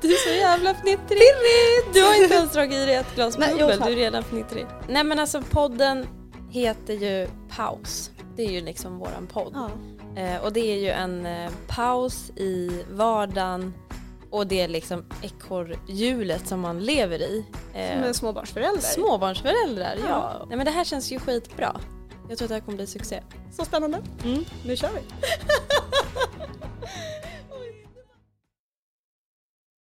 Du är så jävla fnittrig. Du har inte ens dragit i dig ett glas Nej, bubbel, jo, du är redan fnittrig. Nej men alltså podden heter ju Paus. Det är ju liksom våran podd. Ja. Eh, och det är ju en eh, paus i vardagen och det är liksom ekorrhjulet som man lever i. Eh, Som en småbarnsförälder. Småbarnsföräldrar, ja. Ja. Nej men det här känns ju skitbra. Jag tror att det här kommer bli succé. Så spännande. Nu kör vi.